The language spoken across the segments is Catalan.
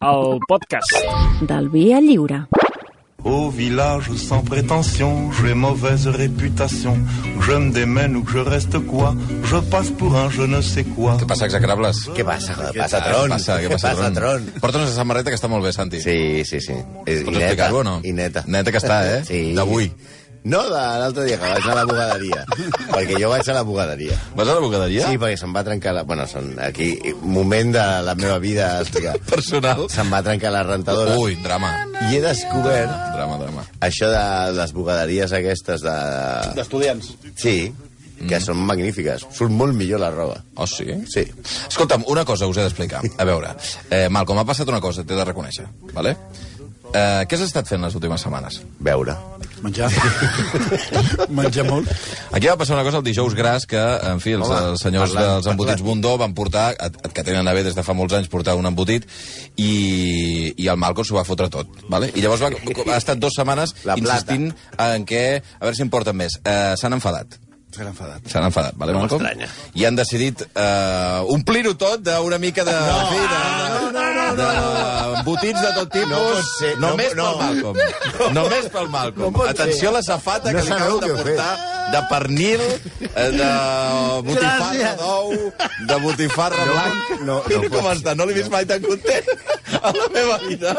el podcast. del Via Lliure. Au village sans prétention, j'ai mauvaise réputation. Je me démène ou que je reste quoi Je passe pour un je ne sais quoi. Què passa, execrables? Què passa? Què Què passa, Tron? Passa, què passa, Tron? Porta'ns la samarreta, que està molt bé, Santi. Sí, sí, sí. És, Pots explicar-ho o no? I neta. Neta que està, eh? Sí. D'avui. No, de l'altre dia, que vaig anar a la bugaderia. perquè jo vaig a la bugaderia. Vas a la bugaderia? Sí, perquè se'm va trencar la... Bueno, són aquí, moment de la meva vida a explicar. Personal. Se'm va trencar la rentadora. Ui, drama. I he descobert Drama, drama. això de les bugaderies aquestes de... d'estudiants. Sí, Mm. que són magnífiques. Surt molt millor la roba. Oh, sí? Sí. Escolta'm, una cosa us he d'explicar. A veure, eh, Malcom, ha passat una cosa, t'he de reconèixer, vale? Eh, què has estat fent les últimes setmanes? Veure. Menjar. Menjar molt. Aquí va passar una cosa el dijous gras que, en fi, els, Home, els senyors parlant, dels embotits parlant. Bundó van portar, et- et- que tenen a bé des de fa molts anys portar un embotit, i, i el Malcolm s'ho va fotre tot, vale? I llavors va, ha estat dues setmanes La plata. insistint en què, a veure si en porten més. Eh, S'han enfadat. Serà enfadat. S'han enfadat, vale, No Malcolm? m'estranya. I han decidit eh, omplir-ho tot d'una mica de... No, en fi, de, de, no, no, no, de embotits de tot tipus. No pot ser, no, només no. pel Malcolm. Només pel Malcolm. pot Atenció ser. a la safata No que li sabeu acaben de què heu portar de pernil, eh, de botifarra Gràcies. d'ou, de botifarra blanca. no, no Mira pot com ser. està, no l'he vist mai tan content a la meva vida.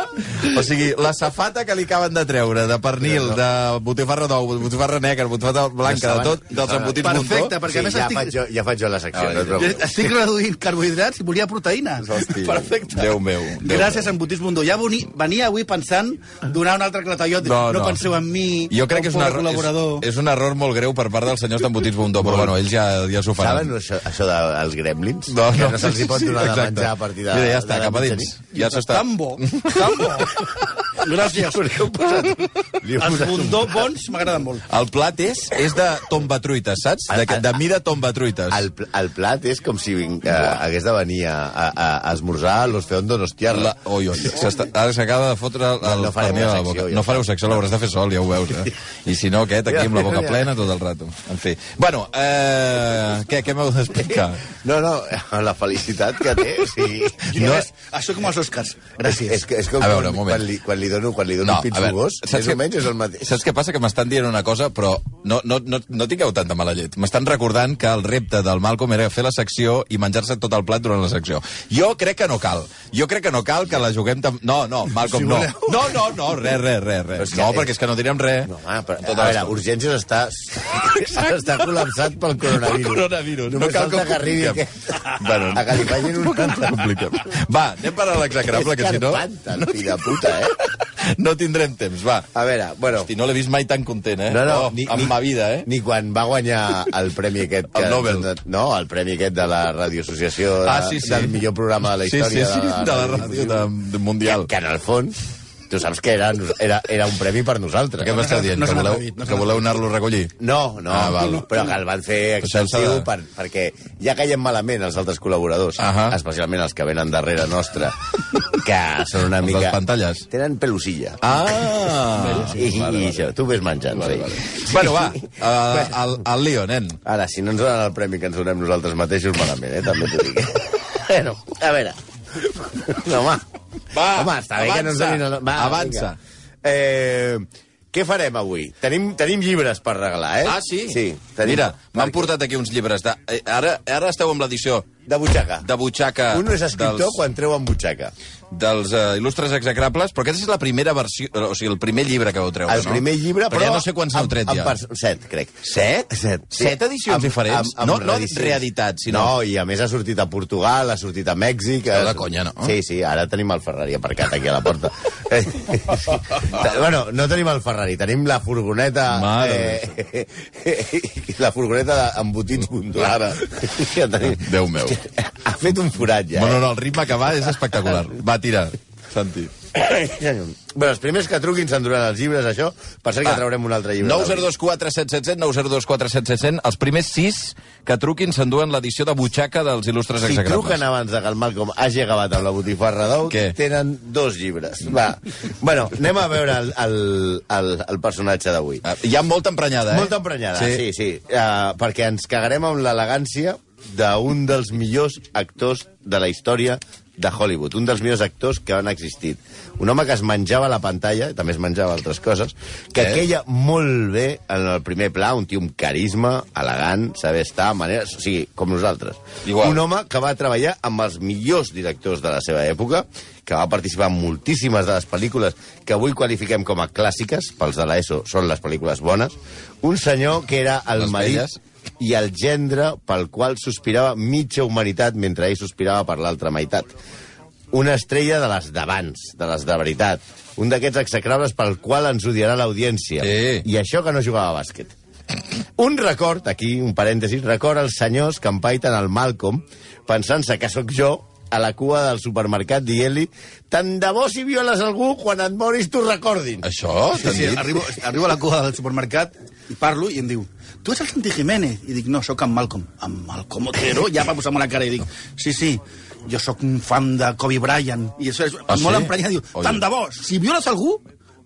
O sigui, la safata que li acaben de treure de pernil, de botifarra d'ou, de botifarra negra, botifarra blanca, de tot, dels embotits Montó. Perfecte, perquè sí, a més ja, estic- faig jo, ja faig jo la secció, Ah, no ja. et preocupis. Estic reduint carbohidrats i volia proteïnes. Hosti, Perfecte. Déu meu, Déu Gràcies, meu. embotis Bundó. Ja veni, venia avui pensant donar un altre clatallot. No, no. penseu en mi, Jo crec que és un, pobre error, col·laborador. és, és un error molt greu per part dels senyors d'embotits Bundó, però bueno, ells ja, ja s'ho faran. Saben això, això dels gremlins? No, que no, no se'ls hi pot sí, sí, donar de exacte. menjar a partir de... Mira, ja de està, la cap a dins. mitjanit? Ja s'està... Tan bo, tan bo. Gràcies. Li heu Els posat un- Bundó bons m'agraden molt. El plat és, és de tombatruites, saps? De, que- de mida tombatruites. El, pl- el plat és com si ving, eh, hagués de venir a, a, a esmorzar a los feondos hostiarra. La... Oi, oi, s'està- ara s'acaba de fotre el, No, no farem pernil a la la secció, boca. ja no està. fareu secció, l'hauràs de fer sol, ja ho veus, eh? I si no, aquest, aquí amb la boca Ja, ja. plena tot el rato. En fi. Bueno, eh, què, què m'heu d'explicar? No, no, la felicitat que té, o sigui... No. És, Ah, això com els Oscars. Gràcies. És, que, és com A veure, un quan, moment. quan, li, quan li dono, quan li dono no, un a pits veure, gos, més què- o menys és el mateix. Saps què passa? Que m'estan dient una cosa, però no, no, no, no tingueu tanta mala llet. M'estan recordant que el repte del Malcolm era fer la secció i menjar-se tot el plat durant la secció. Jo crec que no cal. Jo crec que no cal que la juguem... Tam... No, no, Malcolm, Si no. voleu. No, no, no, res, res, res. res. és que- No, perquè és que no direm res. No, home, però, a Totes veure, les- urgències està, està col·lapsat pel coronavirus. Pel coronavirus. No Només cal falta que que arribi ho aquest... Bueno, a que li facin un... Compliquem. Va, anem per a l'execrable, que si no... Espanta, el fill de puta, eh? No tindrem temps, va. A veure, bueno... Hosti, no l'he vist mai tan content, eh? Ah, No, no, oh, ni, en ma vida, eh? Ni quan va guanyar el premi aquest... El Nobel. No, el premi aquest de la radioassociació de, Ah, sí, sí. del millor programa de la història. Sí, sí, sí, de la radiodifusió. ràdio de, de Mundial. Que, que en el fons, tu saps que era, era, era un premi per nosaltres. Què m'està dient? No que se n'ha voleu, atrevit, no se que n'ha voleu anar-lo a recollir? No, no, Ah, ah, val. val. però que el van fer Això ens ha de- extensiu per, perquè ja caiem malament els altres col·laboradors, Ahà. especialment els que venen darrere nostra, que són una Els mica... dels pantalles. Tenen pelusilla. Ah! I, vale, i això, tu ves menjant, vale, vale. sí. Bueno, va, eh, al, al Lío, nen. Ara, si no ens donen el premi que ens donem nosaltres mateixos, malament, eh? També t'ho dic. bueno, a veure. No, home. Va, home, està bé que no ens avança, donin... el- Va, avança. vinga. Eh, què farem avui? Tenim, tenim llibres per regalar, eh? Ah, sí? Sí. Tenim, Mira, m'han portat aquí uns llibres. De... eh, Ara, ara esteu amb l'edició De butxaca. de butxaca Un és escriptor dels, dels... quan treu en butxaca. dels uh, il·lustres execrables, però aquesta és la primera versió, eh, o sigui, el primer llibre que vau treure, El no? primer llibre, però... Perquè ja no sé quants n'heu tret, ja. Amb, amb, set, crec. Set? Set, sí. Set edicions diferents? No- no reedicions. reeditats, sinó- No, i a més ha sortit a Portugal, ha sortit a Mèxic... Esteu ha- de conya, no? Sí, sí, ara tenim el Ferrari aparcat aquí a la porta. Eh, sí. bueno, no tenim el Ferrari, tenim la furgoneta... Mare eh, la furgoneta de- amb botins puntuada. Ja tenim. Déu meu. Ha fet un forat, ja. eh? Bueno, no, el ritme que va és espectacular. Va, tira, Santi. Bueno, els primers que truquin s'enduran els llibres, això. Per cert que traurem un altre llibre. 902477, 902477, els primers sis que truquin s'enduen l'edició de butxaca dels il·lustres Si execrables. truquen abans de que el Malcolm hagi acabat amb la botifarra d'ou, Què? tenen dos llibres. Va. bueno, anem a veure el, el, el, el personatge d'avui. Ah, Hi ha molta emprenyada, eh? Molt emprenyada, sí, sí. sí. Uh, perquè ens cagarem amb l'elegància d'un dels millors actors de la història de Hollywood, un dels millors actors que han existit. Un home que es menjava la pantalla, també es menjava altres coses, que Eh? eh? queia molt bé en el primer pla, un tio amb carisma, elegant, saber estar, maneres... O sigui, com nosaltres. Igual. Un home que va treballar amb els millors directors de la seva època, que va participar en moltíssimes de les pel·lícules que avui qualifiquem com a clàssiques, pels de l'ESO són les pel·lícules bones, un senyor que era el Les marit velles. i el gendre pel qual sospirava mitja humanitat mentre ell sospirava per l'altra meitat. Una estrella de les d'abans, de les de veritat. Un d'aquests execrables pel qual ens odiarà l'audiència. Sí. I això que no jugava a bàsquet. Un record, aquí un parèntesis, record als senyors que empaiten el Malcolm pensant-se que sóc jo a la cua del supermercat dient-li tant de bo si violes algú quan et moris t'ho recordin. Això? Sí, sí, arribo, arribo a la cua del supermercat i parlo i em diu tu ets el Santi Jiménez? I dic, no, sóc en Malcolm. En Malcolm Otero? Ja va posar-me la cara i dic, sí, sí, jo sóc un fan de Kobe Bryant. I això és Ah, ah, sí? molt sí? emprenyat. Diu, Oi. tant de bo, si violes algú,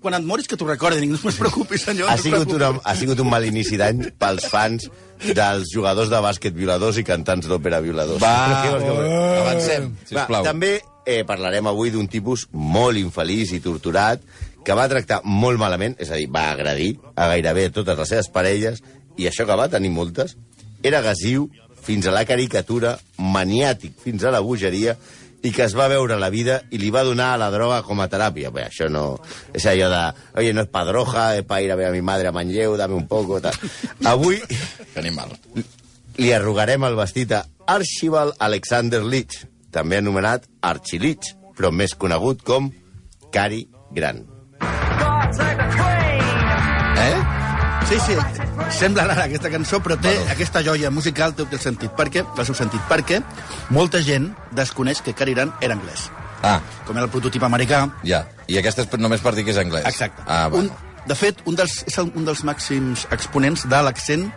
quan et moris que t'ho recordin. Dic, No es preocupi, senyor. ha no es sigut, preocupi." una, ha sigut un mal inici d'any pels fans dels jugadors de bàsquet violadors i cantants d'òpera violadors. Va, Què vols que- eh, avancem, sisplau. Ah, Va, també eh, parlarem avui d'un tipus molt infeliç i torturat que va tractar molt malament, és a dir, va agredir a gairebé totes les seves parelles i això que va tenir moltes, era gasiu fins a la caricatura, maniàtic fins a la bogeria i que es va veure la vida i li va donar a la droga com a teràpia. Bé, això no... És allò de... Oye, no és padroja, és pa ir a veure a mi madre a Manlleu, dame un poco, tal. Avui Que animal. li arrugarem el vestit a Archibald Alexander Leach, també anomenat Archie Leach, però més conegut com Cary Grant. Eh? Sí, sí, sembla rara aquesta cançó, però té bueno. aquesta joia musical, té el sentit, perquè, el seu sentit, perquè molta gent desconeix que Cary Grant era anglès. Ah, Com era el prototip americà, ja. I aquesta és només per dir que és anglès. Exacte. Ah, va. un, de fet, un dels, és el- un dels màxims exponents de l'accent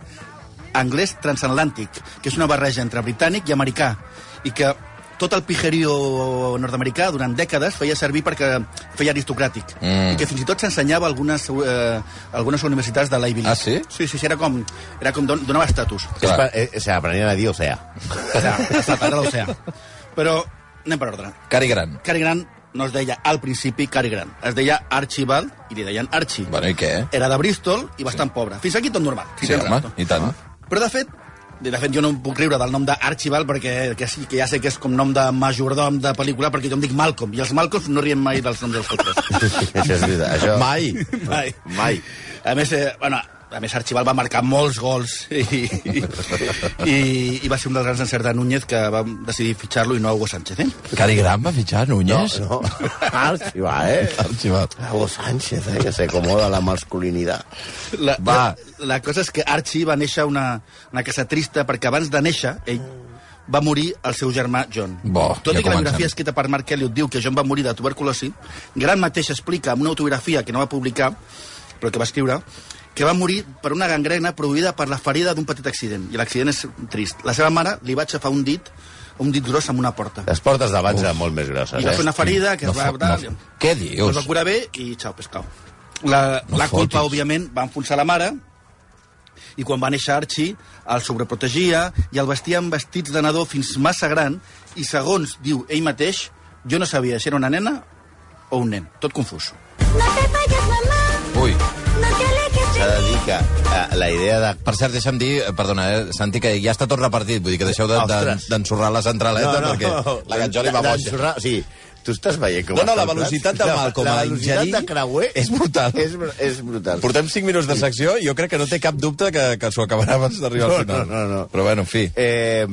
anglès transatlàntic, que és una barreja entre britànic i americà, i que tot el pijerío nord-americà durant dècades feia servir perquè feia aristocràtic, Mm. i que fins i tot s'ensenyava a algunes, eh, a algunes universitats de l'Ivy League. Ah, sí? Sí, sí, sí era com, era com don, donava estatus. És Clar. per, eh, o sigui, aprenien a dir oceà. O sigui, hasta tarda l'oceà. Però anem per ordre. Cari gran. Cary Grant no es deia al principi Cary Grant, es deia Archibald i li deien Archie Bueno, i què? era de Bristol i bastant sí. pobre. Fins aquí tot normal. Sí, tens home, raó. i tant. Però, de fet, de fet, jo no em puc riure del nom d'Archibald, perquè que, sí, que ja sé que és com nom de majordom de pel·lícula, perquè jo em dic Malcolm, i els Malcolms no riem mai dels noms dels altres. això és veritat. Això... Mai. mai. Mai. A més, eh, bueno, a més, Archibald va marcar molts gols i, i, i, i va ser un dels grans encerts de Núñez que va decidir fitxar-lo i no Hugo Sánchez. Eh? Cari gran va fitxar Núñez? Ah, No, Archibald, eh? Arxivat. Hugo Sánchez, eh, que s'acomoda la masculinidad. La, Va. la, la cosa és que Archie va néixer a una, una casa trista perquè abans de néixer, ell va morir el seu germà John. Bo, Tot ja i que la comencem. biografia escrita per Mark Elliot diu que John va morir de tuberculosi, Grant mateix explica en una autobiografia que no va publicar, però que va escriure, que va morir per una gangrena produïda per la ferida d'un petit accident. I l'accident és trist. La seva mare li va aixafar un dit, un dit gros amb una porta. Les portes d'abans eren molt més grosses, I va eh? fer una ferida que No es va... fot- tal, no i- fot- Què es dius? va curar bé i xau, pescau. La, No Doncs no la culpa, fotis. òbviament, va enfonsar la mare, i quan va néixer Archie, el sobreprotegia i el vestia amb vestits de nadó fins massa gran, i segons diu ell mateix, jo no sabia si era una nena o un nen. Tot confús. No te vayas, mamá. Ui. No te alejes S'ha de de dir que eh, la idea de Per cert, deixa'm dir, eh, perdona, eh, Santi, que ja està tot repartit, vull dir que deixeu de- de- Ostres. d'ensorrar de, la centraleta perquè la ganjola hi va boja. D'ensorrar, O sigui, tu estàs veient com... No, no, la està el plat? velocitat de La- Malcolm La a velocitat ingerir de creuer és brutal. És, br- és brutal. Portem 5 minuts de secció i jo crec que no té cap dubte que, que s'ho acabarà abans d'arribar al No, final. no, no, no. Però bueno, en fi. Eh,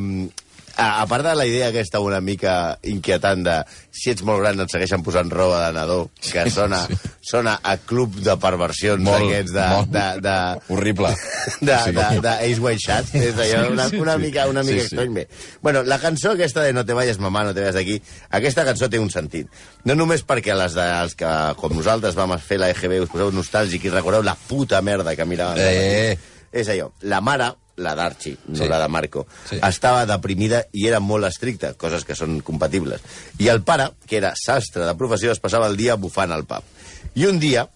a, a part de la idea aquesta una mica inquietant de si ets molt gran et segueixen posant roba de nadó, que sona, sí. sona a club de perversions Molt, d'aquests de, molt. de, de, Horrible. de, Sí. de, de Ace White Shot. És allò, una, una sí. mica, una Sí, mica sí. sí, estrany. Bé. Bueno, la cançó aquesta de No te vayas, mamà, no te vayas d'aquí, aquesta cançó té un sentit. No només perquè les de, els que, com nosaltres, vam fer la EGB, us poseu nostàlgic i recordeu la puta merda que miràvem. de Eh. matí. És allò, la mare, la d'Archie, no Sí. sí. la de Marco, Sí. sí. estava deprimida i era molt estricta, coses que són compatibles. I el pare, que era sastre de professió, es passava el dia bufant al pub. I un dia,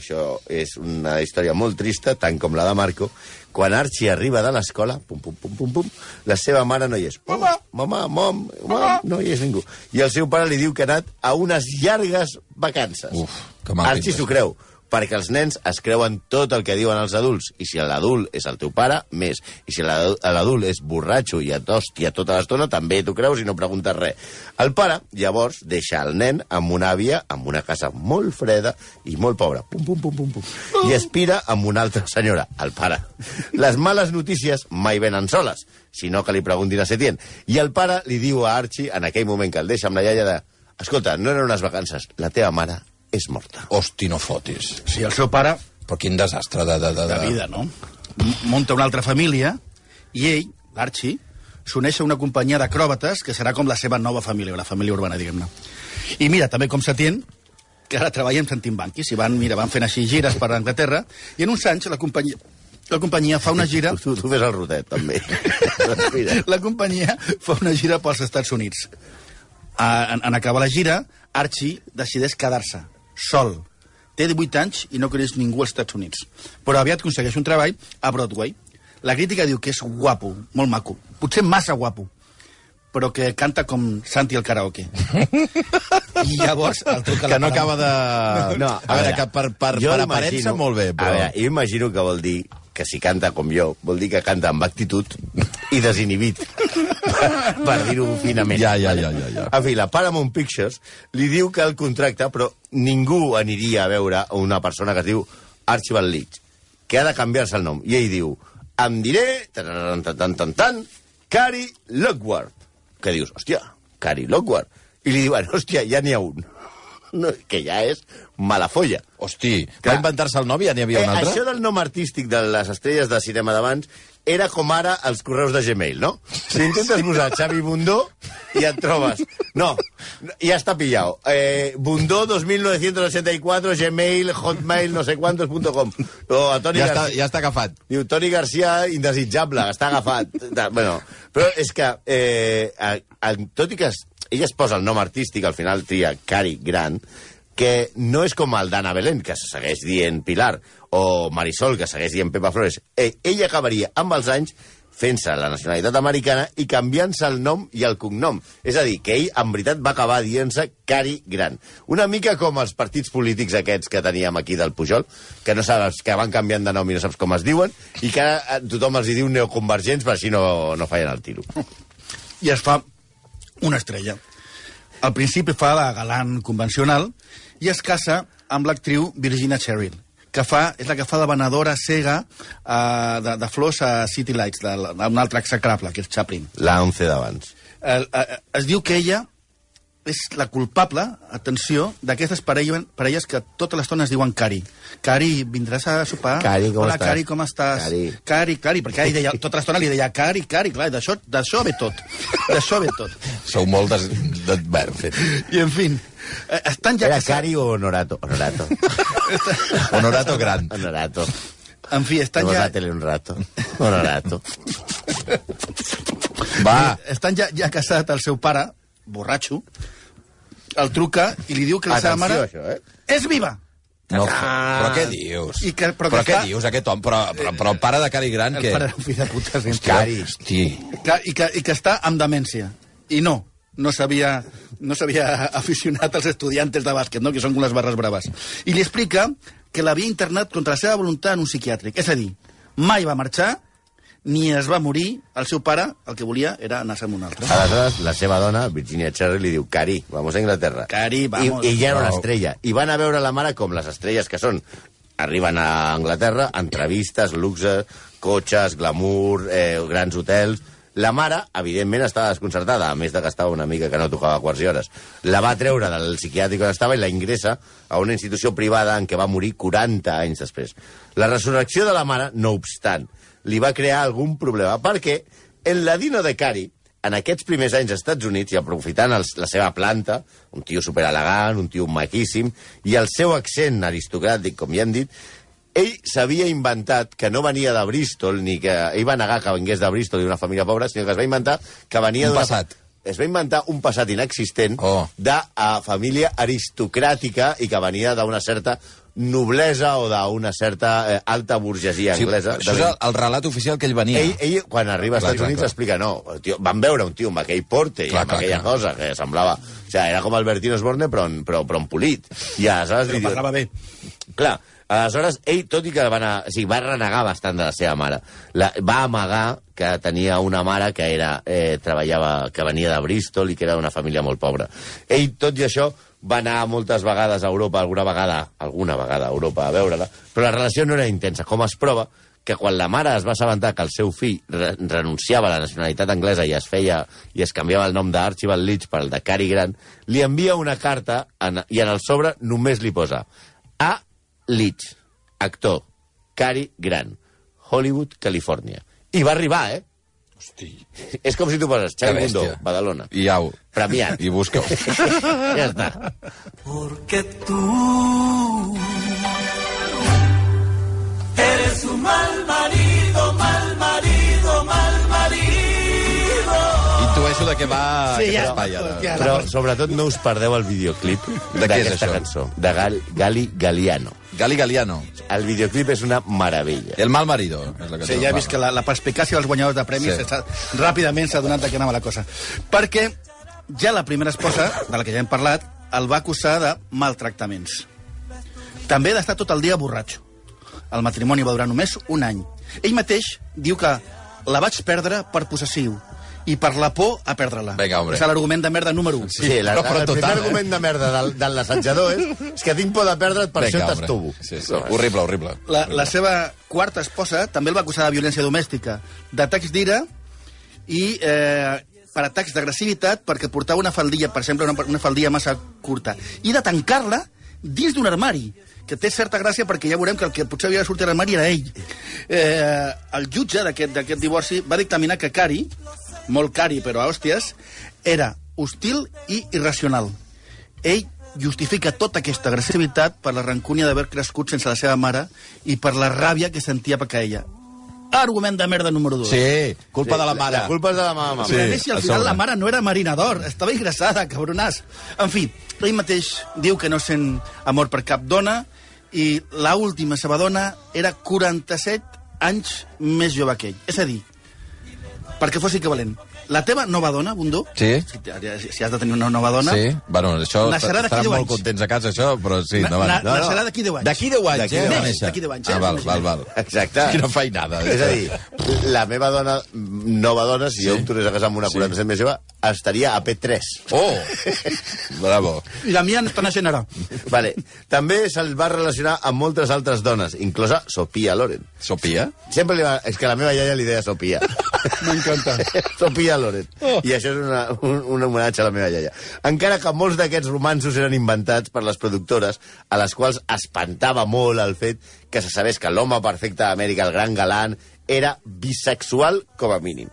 Això és una història molt trista, tant com la de Marco. Quan Archie arriba de l'escola, pum, pum, pum, pum, pum, la seva mare no hi és. Mama! Mama, mom, mom, no hi és ningú. I el seu pare li diu que ha anat a unes llargues vacances. Uf, que mal Archie pinta. s'ho creu, perquè els nens es creuen tot el que diuen els adults, i si l'adult és el teu pare, més. I si l'adu- l'adult és borratxo i et hòstia tota l'estona, també t'ho creus i no preguntes res. El pare, llavors, deixa el nen amb una àvia, amb una casa molt freda i molt pobra. Pum, pum, pum, pum, pum. I aspira amb una altra senyora, el pare. Les males notícies mai venen soles, sinó que li preguntin a Setien. I el pare li diu a Archie, en aquell moment que el deixa amb la iaia de... Escolta, no eren unes vacances, la teva mare és morta. Hosti, no fotis. Sí, el seu pare, Però quin desastre de... De, de, de vida, no? M- Munta una altra família i ell, l'Archie, s'uneix a una companyia d'acròbates que serà com la seva nova família, la família urbana, diguem-ne. I mira, també com s'atén, que ara treballa amb Santim Banquis, i van, mira, van fent així gires per Anglaterra, i en uns anys la companyia, la companyia fa una gira... Tu, tu fes el rotet, també. Respira. la companyia fa una gira pels Estats Units. A, en, en acabar la gira, Archie decideix quedar-se, sol. Té 18 anys i no coneix ningú als Estats Units. Però aviat aconsegueix un treball a Broadway. La crítica diu que és guapo, molt maco, potser massa guapo, però que canta com Santi al karaoke. I llavors el truca la Que no parada. acaba de... No, a veure, que per, per, jo per imagino- aparença molt bé, A però... veure, jo imagino que vol dir que si canta com jo, vol dir que canta amb actitud i desinhibit, per, per dir-ho finament. Ja, ja, ja, ja, ja. En fi, la Paramount Pictures li diu que el contracta, però ningú aniria a veure una persona que es diu Archibald Leach, que ha de canviar-se el nom. I ell diu, em diré, tan, tan, tan, tan, tan, Cari Lockward. Que dius, hòstia, Cari Lockward. I li diuen, hòstia, ja n'hi ha un. No, que ja és mala folla. Hosti, va Clar. inventar-se el nom i ja n'hi Eh, havia un altre? Això del nom artístic de les estrelles de cinema d'abans era com ara els correus de Gmail, no? Si intentes posar Xavi Bundó i et trobes... No, ja està pillado. Eh, Bundó 2984, Gmail, Hotmail, no sé quantos, punto com. O a Toni Ja Garcia. està, ja està agafat. Diu, Toni Garcia, indesitjable, està agafat. Ta- bueno, però és que, eh, a, a, tot i que es, ella es posa el nom artístic, al final tria Cari Grant, que no és com el d'Anna Belén, que se segueix dient Pilar, o Marisol, que segueix dient Pepa Flores. Eh, ella acabaria amb els anys fent-se la nacionalitat americana i canviant-se el nom i el cognom. És a dir, que ell, en veritat, va acabar dient-se Cari Gran. Una mica com els partits polítics aquests que teníem aquí del Pujol, que no saps, que van canviant de nom i no saps com es diuen, i que ara eh, tothom els hi diu neoconvergents, per així no, no fallen el tiro. i es fa una estrella. Al principi fa la galant convencional i es casa amb l'actriu Virginia Cheryl, que fa, és la que fa de venedora cega eh, de, de flors a City Lights, de, la- d'un altre execrable, que és Chaplin. La 11 d'abans. Eh, eh, es diu que ella és la culpable, atenció, d'aquestes parelles, parelles que tota l'estona es diuen Cari. Cari, vindràs a sopar? Cari, com Hola, estàs? Cari, com estàs? Cari. Cari, Cari, perquè ell deia, tota l'estona li deia Cari, Cari, clar, d'això d'això ve tot. D'això ve tot. Sou molt des... De... Bé, en fi. I, en fi, eh, estan ja... Era Casa... Cari o Honorato? Honorato. Honorato gran. Honorato. En fi, estan Vamos a ja... la tele un rato. Honorato. Va, Estan ja, ja casat el seu pare, borratxo, el truca i li diu que la seva Atenció, mare... això, eh? És viva! no, fa- però què dius? I que- però però, que què està- dius, aquest home? Però, però, però el pare de Cari Gran, El què? pare era un fill de puta. sí. Cari. Hosti. Que, i, que, I que està amb demència. I no, no s'havia no s'havia aficionat als estudiantes de bàsquet, no? que són com les barres braves. I li explica que l'havia internat contra la seva voluntat en un psiquiàtric. És a dir, mai va marxar, ni es va morir. El seu pare el que volia era anar-se amb un altre. Ah, Aleshores, la seva dona, Virginia Cherry, li diu, Cari, vamos a Inglaterra. Cari, vamos. I, I ja era una Wow. estrella. I van a veure la mare com les estrelles que són. Arriben a Anglaterra, entrevistes, luxe, cotxes, glamour, eh, grans hotels... La mare, evidentment, estava desconcertada, a més de que estava una mica que no tocava quarts i hores. La va treure del psiquiàtric on estava i la ingressa a una institució privada en què va morir 40 anys després. La resurrecció de la mare, no obstant, li va crear algun problema, perquè en la Dino de Cari, en aquests primers anys als Estats Units i aprofitant els, la seva planta, un tio super elegant, un tio maquíssim, i el seu accent aristocràtic, com ja hem dit, ell s'havia inventat que no venia de Bristol, ni que ell va negar que vingués de Bristol i d'una família pobra, sinó que es va inventar que venia Un d'una... passat. es va inventar un passat inexistent Oh. de uh, família aristocràtica i que venia d'una certa noblesa o d'una certa eh, alta burgesia Sí, eh? anglesa. això és el, el relat oficial que ell venia. Ell, ell, quan arriba als Clar, Estats clar, Units, clar. explica, no, el tio, van veure un tio amb aquell porte i Clar, amb clar, aquella clar. cosa que semblava... O sigui, era com Albertino Osborne, però, en- però, però en polit. I aleshores... li Però diu- parlava bé. Clar, aleshores, ell, tot i que va, anar, o sigui, va renegar bastant de la seva mare, la, va amagar que tenia una mare que era, eh, treballava, que venia de Bristol i que era d'una família molt pobra. Ell, tot i això, va anar moltes vegades a Europa, alguna vegada, alguna vegada a Europa a veure-la, però la relació no era intensa, com es prova que quan la mare es va assabentar que el seu fill re renunciava a la nacionalitat anglesa i es feia i es canviava el nom d'Archibald Leach per el de Cary Grant, li envia una carta en, i en el sobre només li posa a Leach, actor, Cary Grant, Hollywood, Califòrnia. I va arribar, eh? Hosti. És com si tu poses Que Xavi Mundo, bèstia. Badalona. I... I au. Premiat. I busca Ja està. Porque tú eres un mal marido, mal marido, mal marido. Intueixo de què va Sí, aquest ja. espai ara. Ja. Però, sobretot, no us perdeu el videoclip De què és d'aquesta això? cançó, de Gal Gali Galiano. Gali Galiano. El videoclip és una meravella. El mal marido. És la que Sí, ja he vist que la, la perspicàcia dels guanyadors de premis Sí. sí. ràpidament s'ha donat de què anava la cosa. Perquè ja la primera esposa, de la que ja hem parlat, el va acusar de maltractaments. També d'estar tot el dia borratxo. El matrimoni va durar només un any. Ell mateix diu que la vaig perdre per possessiu i per la por a perdre-la. Vinga, hombre. És l'argument de merda número 1. Sí, la, però- però el primer total, eh? argument de merda del, del assajador és, és que tinc por de perdre't, per això hombre. t'estuvo. Sí, sí. Horrible, horrible. La, la seva quarta esposa també el va acusar de violència domèstica, d'atacs d'ira i eh, per atacs d'agressivitat perquè portava una faldilla, per exemple, una, una faldilla massa curta, i de tancar-la dins d'un armari, que té certa gràcia perquè ja veurem que el que potser havia de sortir de l'armari era ell. Eh, el jutge d'aquest d'aquest divorci va dictaminar que Cari, molt cari però a hòsties, era hostil i irracional. Ell justifica tota aquesta agressivitat per la rancúnia d'haver crescut sense la seva mare i per la ràbia que sentia per ella. Argument de merda número 2. Sí, culpa de la mare. La culpa és de la mama. Sí. Sí. Però a més, si al a final sobre. la mare no era Marina d'Or, estava ingressada, cabronàs. En fi, ell mateix diu que no sent amor per cap dona i la última seva dona era 47 anys més jove que ell. És a dir, perquè fos equivalent, la teva nova dona, Bundó, Sí. si si has de tenir una nova dona, Sí, bueno, això Naixerà d'aquí estaran deu molt anys. contents a casa, això, però sí, Na- endavant. na- naixerà d'aquí deu anys. D'aquí 10 anys, D'aquí eh? deu va anys. néixer. D'aquí deu anys, eh? Ah, val, Sí, val, val. Exacte. Quina feinada. És a dir, la meva dona, nova dona, si sí. jo em tornés a casar amb una Sí. 40% més jove, estaria a P3. Oh! Bravo. i la mia no està naixent ara. Vale. També se'l va relacionar amb moltes altres dones, inclosa Sofia Loren. Sopia? Sempre li va... És que la meva iaia li deia Sopia. M'encanta. Sopia Loren. Oh. I això és una, un, un homenatge a la meva iaia. Encara que molts d'aquests romansos eren inventats per les productores, a les quals espantava molt el fet que se sabés que l'home perfecte d'Amèrica, el gran galant, era bisexual com a mínim.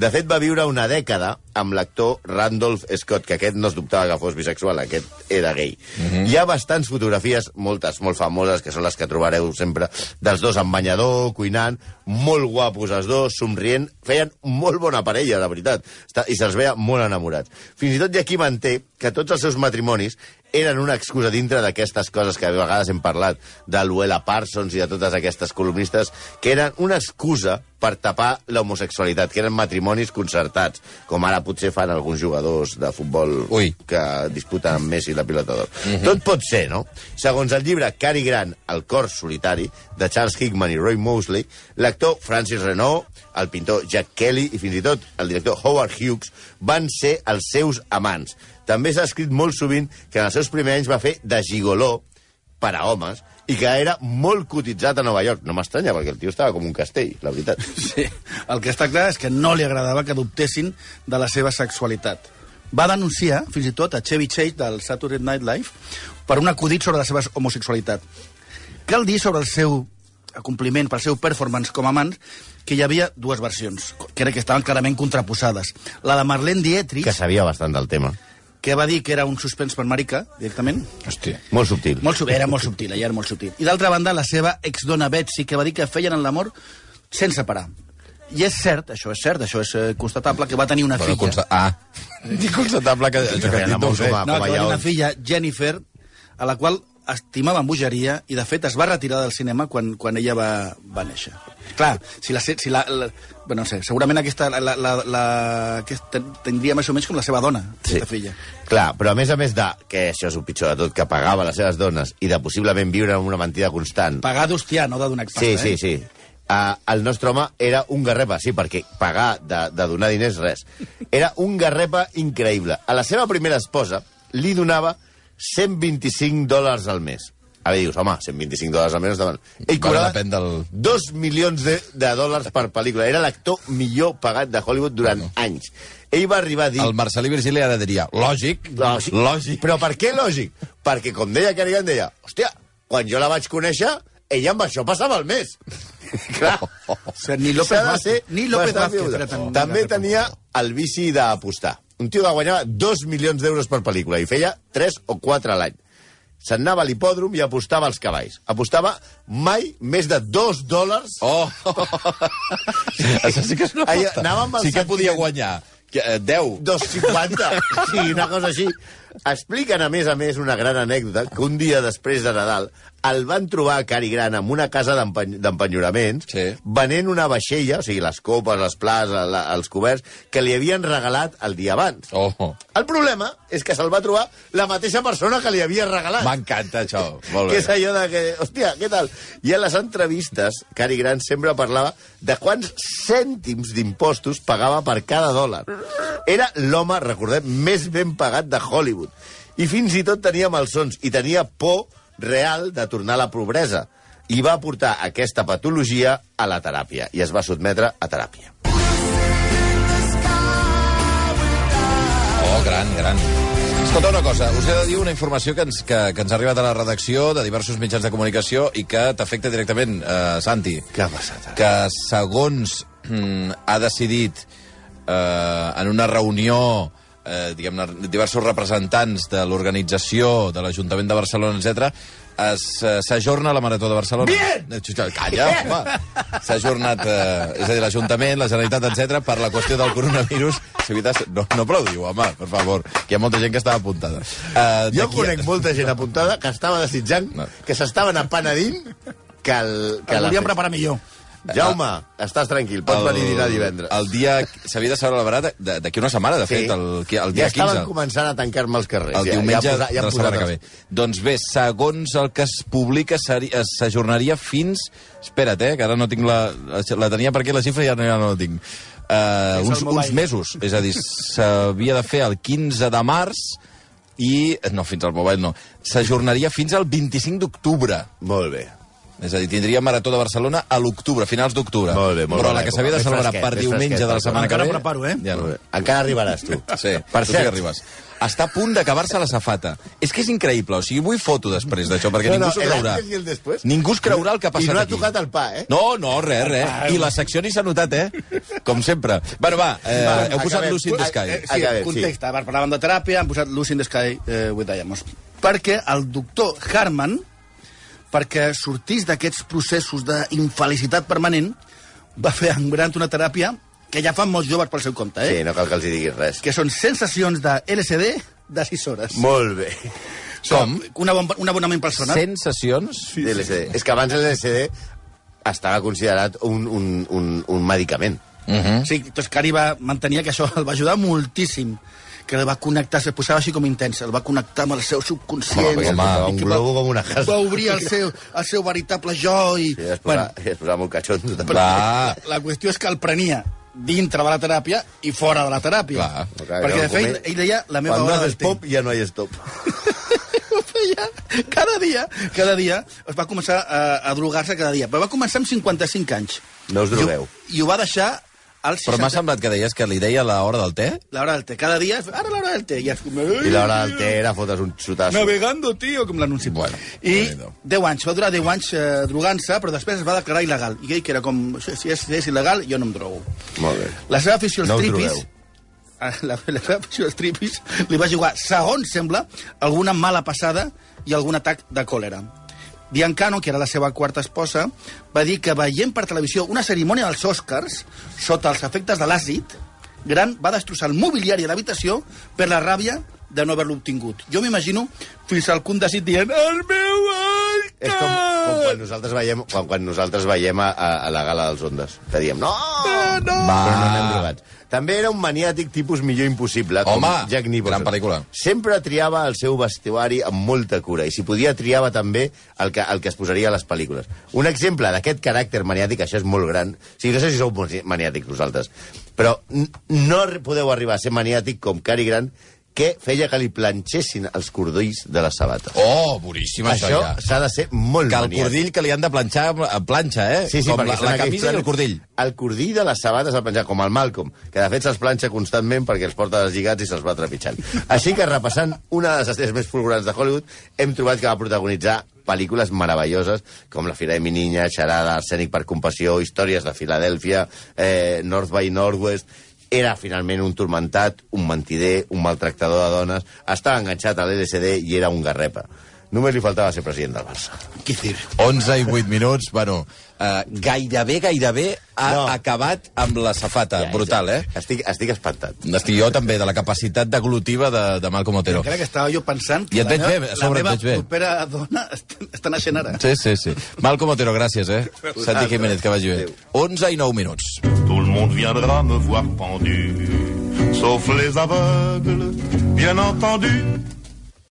De fet, va viure una dècada amb l'actor Randolph Scott, que aquest no es dubtava que fos bisexual, aquest era gay. Mm -hmm. Hi ha bastants fotografies, moltes, molt famoses, que són les que trobareu sempre, dels dos en banyador, cuinant, molt guapos els dos, somrient, feien molt bona parella, de veritat, Està- i se'ls veia molt enamorats. Fins i tot hi ha qui manté que tots els seus matrimonis eren una excusa dintre d'aquestes coses que a vegades hem parlat, de Luella Parsons i de totes aquestes columnistes, que eren una excusa per tapar l'homosexualitat, que eren matrimonis concertats, com ara potser fan alguns jugadors de futbol Ui. que disputen amb Messi la pilota d'or. Mm -hmm. Tot pot ser, no? Segons el llibre Cary Grant, El cor solitari, de Charles Hickman i Roy Mosley, l'actor Francis Renault, el pintor Jack Kelly i fins i tot el director Howard Hughes van ser els seus amants. També s'ha escrit molt sovint que en els seus primers anys va fer de gigoló per a homes i que era molt cotitzat a Nova York. No m'estranya, perquè el tio estava com un castell, la veritat. Sí. El que està clar és que no li agradava que dubtessin de la seva sexualitat. Va denunciar, fins i tot, a Chevy Chase del Saturday Night Live per un acudit sobre la seva homosexualitat. Cal dir sobre el seu compliment pel seu performance com a amant que hi havia dues versions, que era que estaven clarament contraposades. La de Marlene Dietrich, Que que, sabia bastant del tema. que va dir que era un suspens per marica, directament, Hòstia. Molt subtil. molt subtil, era molt subtil, ella era molt subtil. I d'altra banda, la seva exdona Betsy, que va dir que feien en l'amor sense parar. I és cert, això és cert, això és eh, constatable, que va tenir una Bueno, filla. consta... Ah, dic constatable que... Això que Reina has dit no ho sé. Montserrat. No, com que a va tenir lleons. una filla, Jennifer, a la qual estimava amb bogeria i, de fet, es va retirar del cinema quan, quan ella va, va néixer. Clar, si la... se- Si la, la bueno, no sé, segurament aquesta, la, la, la, la, aquesta tindria més o menys com la seva dona, aquesta filla. Clar, però a més a més de, que això és el pitjor de tot, que pagava les seves dones i de possiblement viure amb una mentida constant. Pagar d'hostiar, no de donar pasta, sí, eh? sí, sí. Uh, el nostre home era un garrepa, sí, perquè pagar de, de donar diners, res. Era un garrepa increïble. A la seva primera esposa li donava 125 dòlars al mes. A veure, dius, home, 125 dòlars al mes... doncs, Davant. Ell Bueno, cobrava depèn del- 2 milions de, de dòlars per pel·lícula. Era l'actor millor pagat de Hollywood durant Bueno. anys. Ell va arribar a dir... El Marcelí Virgili ara diria, lògic, Lògic. lògic. Però per què lògic? Perquè, com deia Kerrigan, deia, hòstia, quan jo la vaig conèixer, ella amb això passava el mes. Clar. sea, ni López S'ha de ser Vázquez- ni López bastant Vázquez viuda. era tan- També tan tenia el vici d'apostar. Un tio que guanyava 2 milions d'euros per pel·lícula i feia 3 o 4 a l'any. Se'n anava a l'hipòdrom i apostava als cavalls. Apostava mai més de 2 dòlars Oh! Això sí que és una Ahir aposta. anàvem amb el Sí que podia sentiment. guanyar. Que, eh, 10. 2,50. Sí, una cosa així. Expliquen, a més a més, una gran anècdota que un dia després de Nadal el van trobar a Cari Gran en una casa d'empen- d'empenyoraments Sí. venent una vaixella, o sigui, les copes, les places, la, els coberts, que li havien regalat el dia abans. Oh, El problema és que se'l va trobar la mateixa persona que li havia regalat. m'encanta això. Molt Que és bé. allò de que, hòstia, què tal? I a les entrevistes, Cari Gran sempre parlava de quants cèntims d'impostos pagava per cada dòlar. Era l'home, recordem, més ben pagat de Hollywood. I fins i tot tenia malsons i tenia por real de tornar a la pobresa. I va portar aquesta patologia a la teràpia i es va sotmetre a teràpia. Oh, gran, gran. Escolta una cosa, us he de dir una informació que ens, que, que ens ha arribat a la redacció de diversos mitjans de comunicació i que t'afecta directament, eh, Santi. Què ha passat? Que segons mm, ha decidit eh, en una reunió eh, diguem diversos representants de l'organització de l'Ajuntament de Barcelona, etc es, eh, s'ajorna la Marató de Barcelona. Bien! Calla, home! S'ha ajornat, eh, és a dir, l'Ajuntament, la Generalitat, etc per la qüestió del coronavirus. Si veritat, no, no aplaudiu, home, per favor, que hi ha molta gent que estava apuntada. Eh, Jo d'aquí a- conec molta gent apuntada que estava desitjant, No. que s'estaven apanedint que el... Que Que la volíem festa. preparar millor. Jaume, estàs tranquil, pots venir a dinar divendres. El dia... S'havia de celebrar de- de- d'aquí una setmana, de fet, el, el dia ja estaven 15. començant a tancar-me els carrers. El diumenge de posa- la han posat setmana que ve. els- Doncs bé, segons el que es publica, seri- es- s'ajornaria fins... Espera't, eh, que ara no tinc la... La tenia per aquí la xifra i ara ja no la tinc. Uh, el uns, mobile. uns mesos. És a dir, s'havia de fer el 15 de març i... eh, No, fins al mobile no. S'ajornaria fins al 25 d'octubre. Molt bé. És a dir, tindria Marató de Barcelona a l'octubre, finals d'octubre. Molt bé, molt Però bona la que s'havia de època. celebrar Més per fresquet, més diumenge de la fresquet. setmana Encara que ve... preparo, eh? Ja no. Encara arribaràs, tu. Sí, per tu sí que cert, arribes. Està a punt d'acabar-se la safata. És que és increïble, o sigui, vull foto després d'això, perquè No, no, ningú s'ho el creurà. antes i el després. Ningú es creurà el que ha I passat no ha aquí. tocat el pa, eh? Ah, No, no, res, res. I la secció ni s'ha notat, eh? Com sempre. Bueno, va, eh, Va, heu posat acabem. Lucy in the Eh, Sky. eh, Sí, Acabem, context, sí. parlàvem de teràpia, han posat Lucy in the Sky eh, with Diamonds. Perquè el doctor Harman, perquè sortís d'aquests processos d'infelicitat permanent, va fer engranat una teràpia que ja fan molts joves pel seu compte, eh? Sí, no cal que els hi diguis res. Que són sensacions de LSD de 6 hores. Molt bé. Com? Una bon, un abonament personal. Sensacions? Sí, LSD. És que abans l'LSD estava considerat un, un, un, un medicament. Sí, doncs Cari va mantenir que això el va ajudar moltíssim que el va connectar, se posava així com intens, el va connectar amb el seu subconscient. Home, perquè portava un I que globo com una casa. Va obrir el seu, el seu veritable jo i... I es posava, bueno. es posava molt catxondo. també. Ah. Clar. la qüestió és que el prenia dintre de la teràpia i fora de la teràpia. Clar. Clar, perquè, jo de fet, comen- ell deia la meva Quan hora no del haces té. pop, ja no hi és top. Ho feia cada dia, cada dia. Es va començar a, a drogar-se cada dia. Però va començar amb 55 anys. No us drogueu. I, ho- i ho va deixar als Però m'ha 60... semblat que deies que li deia la hora del té? L'hora del té. Cada dia, es- ara l'hora del té. I, es... I l'hora del té era fotes un xutasso. Navegando, tio, com l'anunci. Bueno, I Déu-n'hi-do. 10 anys, va durar 10 anys eh, drogant-se, però després es va declarar il·legal. I ell, que era com, si si és, si és il·legal, jo no em drogo. Molt bé. La seva afició als No us tripis... drogueu. a La, la seva afició als tripis li va jugar, segons sembla, alguna mala passada i algun atac de còlera. Biancano, que era la seva quarta esposa, va dir que veient per televisió una cerimònia dels Oscars sota els efectes de l'àcid, Gran va destrossar el mobiliari de l'habitació per la ràbia de no haver-lo obtingut. Jo m'imagino fins al cul desit dient el meu Oscar! És com, com quan nosaltres veiem, quan, quan nosaltres veiem a, a, a la gala dels Ondes, que diem, no! no! Va. Però no anem drogats. També era un maniàtic tipus millor impossible, com Home, Jack Nicholson. gran pel·lícula. Sempre triava el seu vestuari amb molta cura i si podia triava també el que, el que es posaria a les pel·lícules. Un exemple d'aquest caràcter maniàtic, això és molt gran, o sigui, no sé si sou mani- maniàtics vosaltres, però n- no r- podeu arribar a ser maniàtic com Cary Grant, que feia que li planxessin els cordills de les sabates. Oh, boníssima, això, Això ja. s'ha de ser molt Que el maniàtic. cordill que li han de planxar amb- a planxa, eh? Sí, sí, Com perquè la, són la aquells camisa i el planos- cordill. El cordill de les sabates al penjar, com el Malcolm, que de fet se'ls planxa constantment perquè els porta deslligats i se'ls va trepitjant. Així que repassant una de les estrelles més fulgurants de Hollywood, hem trobat que va protagonitzar pel·lícules meravelloses com La fira de mi niña, Xarada, Arsènic per compassió, Històries de Filadèlfia, eh, North by Northwest... Era finalment un turmentat, un mentider, un maltractador de dones, estava enganxat a l'LSD i era un garrepa. Només li faltava ser president del Barça. Qui dir? 11 i 8 minuts, bueno, eh, gairebé, gairebé ha no. No. acabat amb la safata. Ja, Brutal, eh? Estic, estic espantat. Estic jo també, de la capacitat deglutiva de, de Malcom Otero. Encara que estava jo pensant que I et veig la, bé, meva- a sobre et la veig bé. meva propera dona està, està naixent ara. Sí, sí, sí. Malcom Otero, gràcies, eh? Santi Jiménez, que vagi bé. Adéu. 11 i 9 minuts. Tout le monde viendra me voir pendu, sauf les aveugles, bien entendu.